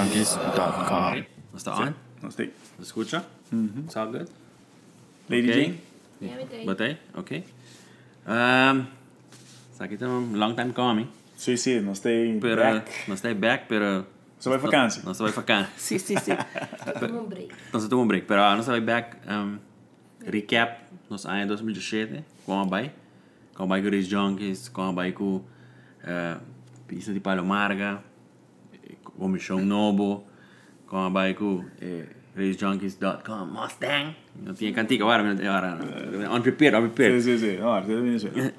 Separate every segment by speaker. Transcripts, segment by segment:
Speaker 1: Changes.com.
Speaker 2: Was that on?
Speaker 3: Let's take
Speaker 2: ¿Me escucha? It's all good?
Speaker 3: Lady
Speaker 2: Okay.
Speaker 3: Jane.
Speaker 2: Botei? Ok. Um, isso aqui tá um long time coming. eh,
Speaker 3: Sim, sim, nós tem.
Speaker 2: Pero, Ah,
Speaker 3: back.
Speaker 2: Não está back, pero...
Speaker 3: Você vai vacância.
Speaker 2: Não está vai vacância. Sim, sim, sim.
Speaker 4: Como um break.
Speaker 2: Então, se tu um break. Pero, ah, não está vai back. Um, recap, nos anos 2017, com a Bai. Com a Bai com os Junkies, com a Bai com... Uh, Pisa de Palomarga, eh, com o Michão Novo, com a Bai com... Eh, RaceJunkies.com, Mustang. Não tinha cantiga agora, agora. Unprepared, unprepared.
Speaker 3: Sim, sim, sim. Olha, tudo bem,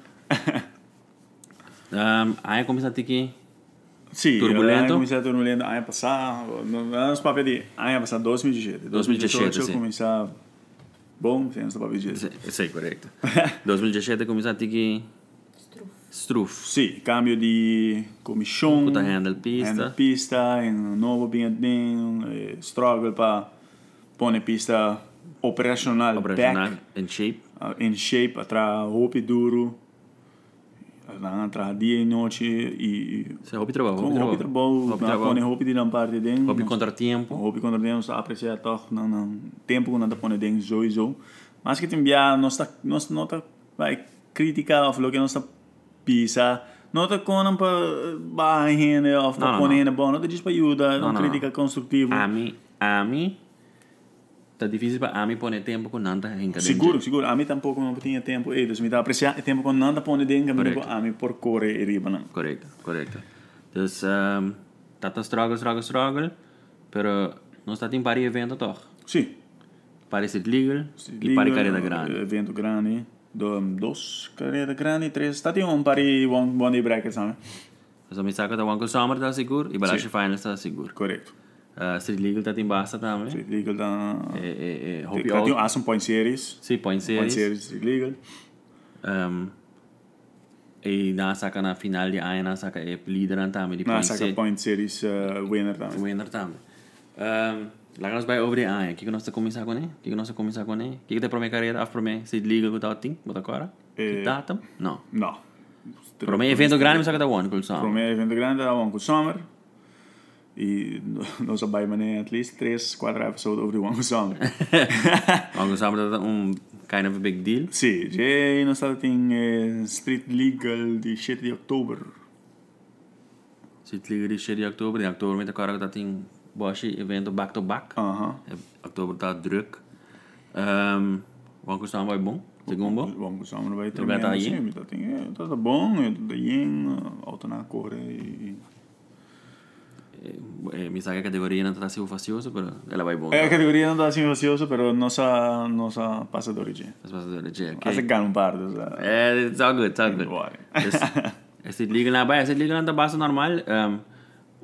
Speaker 2: Um, aí começa a ter que.
Speaker 3: Sim,
Speaker 2: Turbulento.
Speaker 3: Eu comecei a turbulento ano passado, anos para pedir, ano passado 2017.
Speaker 2: 2017,
Speaker 3: eu
Speaker 2: sim.
Speaker 3: comecei a- bom, tem anos para pedir. Sim.
Speaker 2: Sim, correto. 2017 começa a ter que.
Speaker 4: Estrufo.
Speaker 2: Struf.
Speaker 3: cambio de comissão,
Speaker 2: Puta handle pista.
Speaker 3: handle pista, um novo bem, eh, struggle para pôr a pista operacional,
Speaker 2: Operacional,
Speaker 3: back,
Speaker 2: in shape.
Speaker 3: ah, in shape, atrás roupa duro, atrás dia e noite e...
Speaker 2: Você roupa e trabalho.
Speaker 3: Com roupa de
Speaker 2: Roupa
Speaker 3: trabalho,
Speaker 2: e
Speaker 3: na- com
Speaker 2: trabalho.
Speaker 3: roupa de lamparte dentro.
Speaker 2: Roupa e
Speaker 3: nós-
Speaker 2: contratempo.
Speaker 3: Hoop ik ondernemers apreciar toch na een tempo na de pone ding sowieso. Maar als ik het in ja, nosta nosta nota bij critica of lo que é nosta pisa. Nota con un po' bahine of
Speaker 2: No, no,
Speaker 3: no, ponene no. buono, ti dispa aiuta,
Speaker 2: no,
Speaker 3: non
Speaker 2: no.
Speaker 3: critica
Speaker 2: A
Speaker 3: costruttiva.
Speaker 2: mim, a mim. Tá difícil para a mim pôr tempo com nada em cadente.
Speaker 3: Sicuro, sicuro, a me tampoco non tinha tempo, e dus mi da apreciare il tempo con nanda pone ding, mi
Speaker 2: Corretto.
Speaker 3: a me por core e ribana.
Speaker 2: Correto, correto. Então, um, tá tá struggle, struggle, struggle. Pero não está em pari evento, toch?
Speaker 3: Sì.
Speaker 2: Pari sit legal e pari
Speaker 3: eh.
Speaker 2: carreira grande.
Speaker 3: Vento grande, do, dos carrera grande, tres, stati un pari buon, buon di bracket, sabe?
Speaker 2: Então, me saca da Wanko Summer, tá seguro. E Balashi Finals, tá seguro.
Speaker 3: Corretto.
Speaker 2: Uh, Street Legal tá em basta também.
Speaker 3: Street Legal da.
Speaker 2: É, é, é,
Speaker 3: Tem
Speaker 2: Hopi
Speaker 3: tem um
Speaker 2: Out.
Speaker 3: Awesome Point Series.
Speaker 2: Sim, Point
Speaker 3: Point
Speaker 2: Series.
Speaker 3: Series Street Legal.
Speaker 2: Um, e na saca na final de Aia, na saca é líder também de
Speaker 3: Na
Speaker 2: Point
Speaker 3: saca
Speaker 2: Series.
Speaker 3: Point Series uh, winner também.
Speaker 2: Winner também. Um, lá que nós vai over de Aia, o que que nós tá começar com ele? O que que nós tá começar com ele? O que que tem para minha carreira? Afro me, se liga com o tal thing, bota agora? Que
Speaker 3: Eh,
Speaker 2: datum? Não.
Speaker 3: Não.
Speaker 2: Para mim, evento grande, mas saca da One, cool
Speaker 3: Para
Speaker 2: song.
Speaker 3: mim, evento grande era Uncle Summer. E no- nós abrimos né, at least 3, 4 episódios sobre o Uncle Summer.
Speaker 2: Algo sabe tá um kind of a big deal.
Speaker 3: Sim, já nós estamos em eh, Street Legal de 7 de outubro.
Speaker 2: Se liga de cheio de outubro, em outubro, mas agora tá tem Bosch evento back to back.
Speaker 3: Aham.
Speaker 2: Oktober tá druk. Um, Wanko staan vai bom, segundo.
Speaker 3: O Uncle Summer vai
Speaker 2: Lugar tá
Speaker 3: terminar
Speaker 2: aí?
Speaker 3: assim. Tá, tem, eh, tá, tá bom, eh, tá yin, alto na cor e...
Speaker 2: Eh, me saca a categoria não tá sendo facioso, pero ela vai bom.
Speaker 3: É a categoria não tá assim ocioso, pero nossa, nossa passa de origem.
Speaker 2: As pessoas dele, "Jay,
Speaker 3: Hace
Speaker 2: ok.
Speaker 3: ganhar um par dos. ah,
Speaker 2: É, Eh, it's all good, it's all good.
Speaker 3: Embora.
Speaker 2: Esse liga na baia, esse liga na base normal. Um,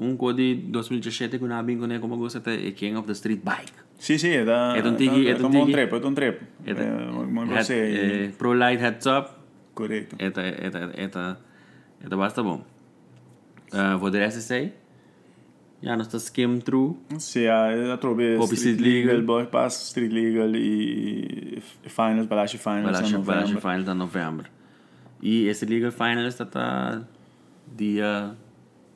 Speaker 2: um code 2017 que eu não bingo nem como gosta é e King of the Street Bike.
Speaker 3: Sim, sim, é da.
Speaker 2: É de um tigre, é de um
Speaker 3: como um
Speaker 2: tigre.
Speaker 3: trepo, é de um trepo. É,
Speaker 2: da-
Speaker 3: uma
Speaker 2: Head-
Speaker 3: coisa aí.
Speaker 2: eh, Pro Light Heads Up.
Speaker 3: Correto.
Speaker 2: Eta, eta, eta, eta basta bom. Uh, vou der essa aí. Já nós tá skim through.
Speaker 3: Sim, a, a trobe
Speaker 2: Op Street Legal.
Speaker 3: Boy Pass, Street Legal e e Finals, Balashi Finals.
Speaker 2: Balashi,
Speaker 3: em
Speaker 2: Balashi
Speaker 3: novembro.
Speaker 2: Finals da novembro. E esse Legal Finals tá, tá dia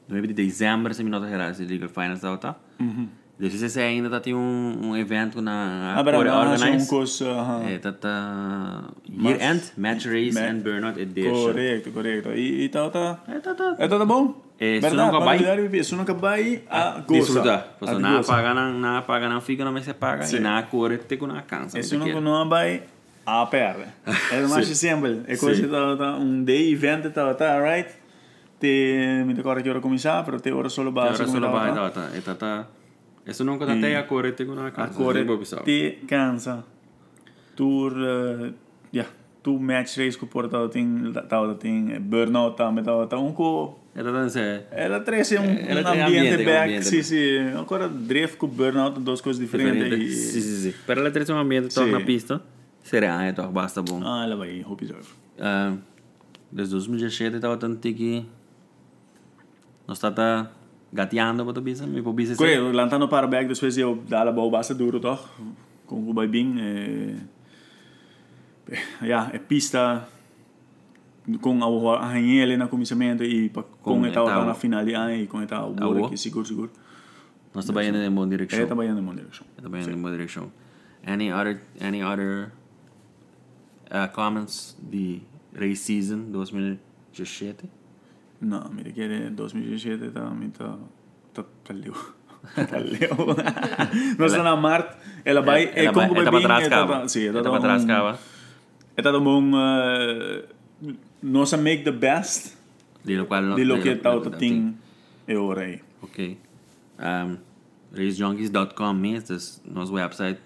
Speaker 2: 9 de dezembro, se me nota geral, esse Legal Finals tá, tá? Uhum. Depois ainda tá, tem um, um evento na
Speaker 3: Ah, pero
Speaker 2: Core
Speaker 3: não, é um
Speaker 2: Organize.
Speaker 3: curso. aham.
Speaker 2: É, tá, tá, year End, Match Race
Speaker 3: Ma-
Speaker 2: and Burnout Edition.
Speaker 3: Correto, correto. E, e tal, tá.
Speaker 2: É, tá, tá.
Speaker 3: É tudo bom?
Speaker 2: É, Sunuka Bay.
Speaker 3: Sunuka Bay a Ah, tá, goza.
Speaker 2: Disfrutar.
Speaker 3: A
Speaker 2: Porque Ah, nada
Speaker 3: goza.
Speaker 2: paga, não, nada paga, não fica, não vai ser paga. E
Speaker 3: Sim.
Speaker 2: nada cor, tem que não cansa.
Speaker 3: Esse
Speaker 2: não
Speaker 3: não
Speaker 2: sei o quê.
Speaker 3: não vai a perde. É mais simples. É coisa
Speaker 2: Sim.
Speaker 3: que tá, tá, um day event tá tá right. Te me decora que hora começar, pero te hora solo
Speaker 2: Te
Speaker 3: base.
Speaker 2: ora
Speaker 3: come
Speaker 2: solo
Speaker 3: tá,
Speaker 2: vai é,
Speaker 3: tá.
Speaker 2: da ta. E ta ta. Eso nunca ta te a corre te con una
Speaker 3: Hum. A
Speaker 2: casa.
Speaker 3: cor
Speaker 2: Bob sabe.
Speaker 3: te cansa. Tour ja, tu match race que porta tem tá tem burnout tá me tá tá um co
Speaker 2: E ta ta se.
Speaker 3: era três é um,
Speaker 2: Era
Speaker 3: um
Speaker 2: tre-
Speaker 3: ambiente,
Speaker 2: ambiente,
Speaker 3: back,
Speaker 2: ambiente.
Speaker 3: sim, sim. Agora drift com burnout, duas coisas diferentes.
Speaker 2: Diferente. Sì, sì, sì. Per la terza ambiente to
Speaker 3: Sì.
Speaker 2: na pista. Será, e to basta bom.
Speaker 3: Ah, ela vai, hope you
Speaker 2: Eh, Desde 2017 tava tanto que nós tá tá gateando para bisa, me para bisa.
Speaker 3: Correto, lantano para back, dus vezes eu dar a bola basta duro, toch? Com o eh, Baibin. É... Ja, é pista. Com a arranhele no começamento e pa- com
Speaker 2: Com
Speaker 3: a tal
Speaker 2: etapa.
Speaker 3: na final de ano e com a tal
Speaker 2: Ah,
Speaker 3: bora
Speaker 2: o.
Speaker 3: que seguro, seguro.
Speaker 2: Nós trabalhando em boa direção.
Speaker 3: Ele trabalhando em uma direção.
Speaker 2: Trabalhando em boa direção. Any other, any other uh, comments de race season 2017?
Speaker 3: No, mire que era 2017 también está está calio. Calio. No está na Mart, ela vai é
Speaker 2: Ela vai-
Speaker 3: como
Speaker 2: ela pra trás,
Speaker 3: ela
Speaker 2: cava.
Speaker 3: tá- Sim,
Speaker 2: Ela
Speaker 3: ela
Speaker 2: pra
Speaker 3: tá
Speaker 2: trás,
Speaker 3: um-
Speaker 2: cava.
Speaker 3: Ela tá um eh, nossa make the best
Speaker 2: De lo cual...
Speaker 3: de lo que tá o tem é hora aí.
Speaker 2: Ok. Um, RaceJunkies.com mesmo, esse é nosso website,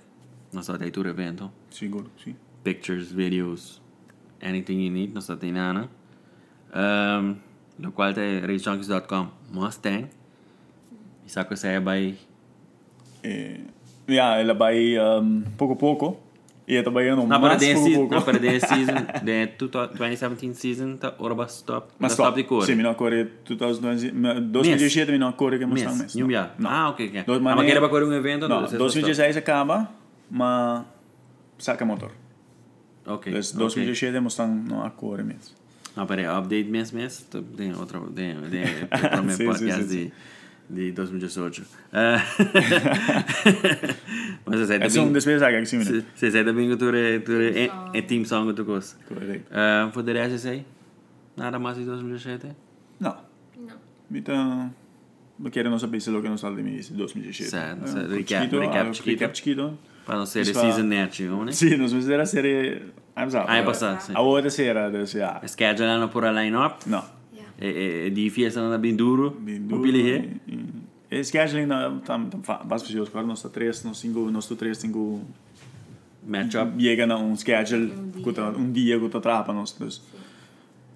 Speaker 2: nossa leitura evento.
Speaker 3: Seguro, sim.
Speaker 2: pictures, videos, anything you need, nós tem Ana. Um, lo cual é racejunkies.com Mustang. E saco essa é by
Speaker 3: É, yeah, ela vai um, pouco a pouco e ela trabalhando
Speaker 2: na para
Speaker 3: mais
Speaker 2: de
Speaker 3: pouco a
Speaker 2: season,
Speaker 3: pouco.
Speaker 2: na para de season, de 2017 season, tá ora bas stop, mas
Speaker 3: stop.
Speaker 2: stop de cor.
Speaker 3: Sim, minha cor é 2012, 2017, minha cor é que mostrar
Speaker 2: Mês,
Speaker 3: mesmo.
Speaker 2: um dia. Ah, ok, ok.
Speaker 3: Dois
Speaker 2: Ah, mas
Speaker 3: maneira-
Speaker 2: quer para um evento?
Speaker 3: Não,
Speaker 2: dois, esse
Speaker 3: 2016 acaba, mas saca motor.
Speaker 2: stop. Ok.
Speaker 3: Então,
Speaker 2: ok.
Speaker 3: 2017 mostrando não a cor mesmo.
Speaker 2: Não, peraí, update mês, mês, tô- tem outra, tem, tem, para o
Speaker 3: Sim,
Speaker 2: meu
Speaker 3: sim,
Speaker 2: podcast
Speaker 3: sim, sim.
Speaker 2: De, de 2018. Ah, mas essa é
Speaker 3: É um
Speaker 2: domingo-
Speaker 3: despejo saca, sim, né?
Speaker 2: Você sai domingo tu é tu é é team song tu gosta.
Speaker 3: Correto.
Speaker 2: Ah, Por de resto isso aí. Nada mais de 2017.
Speaker 3: Não,
Speaker 4: Não.
Speaker 3: então... Porque não sapesse lo que não sale de mim, 2017.
Speaker 2: Certo,
Speaker 3: Eh,
Speaker 2: certo.
Speaker 3: por
Speaker 2: Recap-
Speaker 3: chiquito,
Speaker 2: recap
Speaker 3: algo
Speaker 2: chiquito.
Speaker 3: Recap chiquito.
Speaker 2: Para não ser
Speaker 3: Isso,
Speaker 2: season
Speaker 3: ah.
Speaker 2: net, né?
Speaker 3: Sim, nós vamos ver a série... I'm sorry.
Speaker 2: Ah, é passado, sim.
Speaker 3: A outra será desse ano.
Speaker 2: Schedule não por a lineup.
Speaker 3: Não.
Speaker 4: Yeah.
Speaker 2: É é é difícil anda bem duro. O
Speaker 3: Bindu.
Speaker 2: Billy
Speaker 3: Scheduling, não, tam, tam, fa- vas fazer os quatro, nós tá três, nós cinco, nós tá três, cinco...
Speaker 2: matchup.
Speaker 3: Chega na um schedule,
Speaker 4: Um dia.
Speaker 3: com ta- um dia que tá trapa, nós... nós.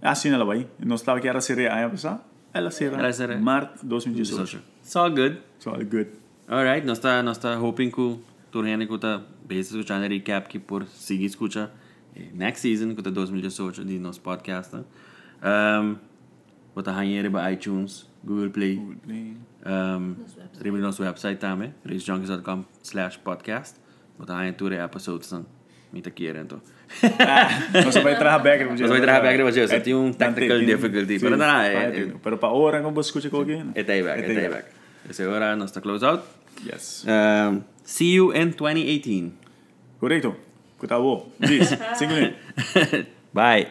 Speaker 3: Assim ela vai. Nós estava que era série A, passar, ela será
Speaker 2: Ela será-
Speaker 3: março 2018.
Speaker 2: It's all good.
Speaker 3: So, all good.
Speaker 2: Alright, nós tá nós tá hoping que tu rende que tá base escutando recap que por seguir escuta eh, next season que tá 2018 de nosso podcast. né? Um, हाँ, vou tá ranheiro para iTunes, Google Play. Um,
Speaker 4: Nosso website.
Speaker 2: Trimmer nosso website também, racejunkies.com slash podcast. हाँ, Vou estar em tour episode são muito aqui, então.
Speaker 3: Nós só vai trabalhar background.
Speaker 2: Nós vai trabalhar background, José.
Speaker 3: Eh,
Speaker 2: Tem um technical difficulty, pero não, é-
Speaker 3: Mas para a hora, como você escuta qualquer...
Speaker 2: É tieback, é tieback. Essa hora nós está close out.
Speaker 3: Yes.
Speaker 2: Um, see you in 2018.
Speaker 3: Correto. Que tá bom. Diz, cinco minutos.
Speaker 2: Bye.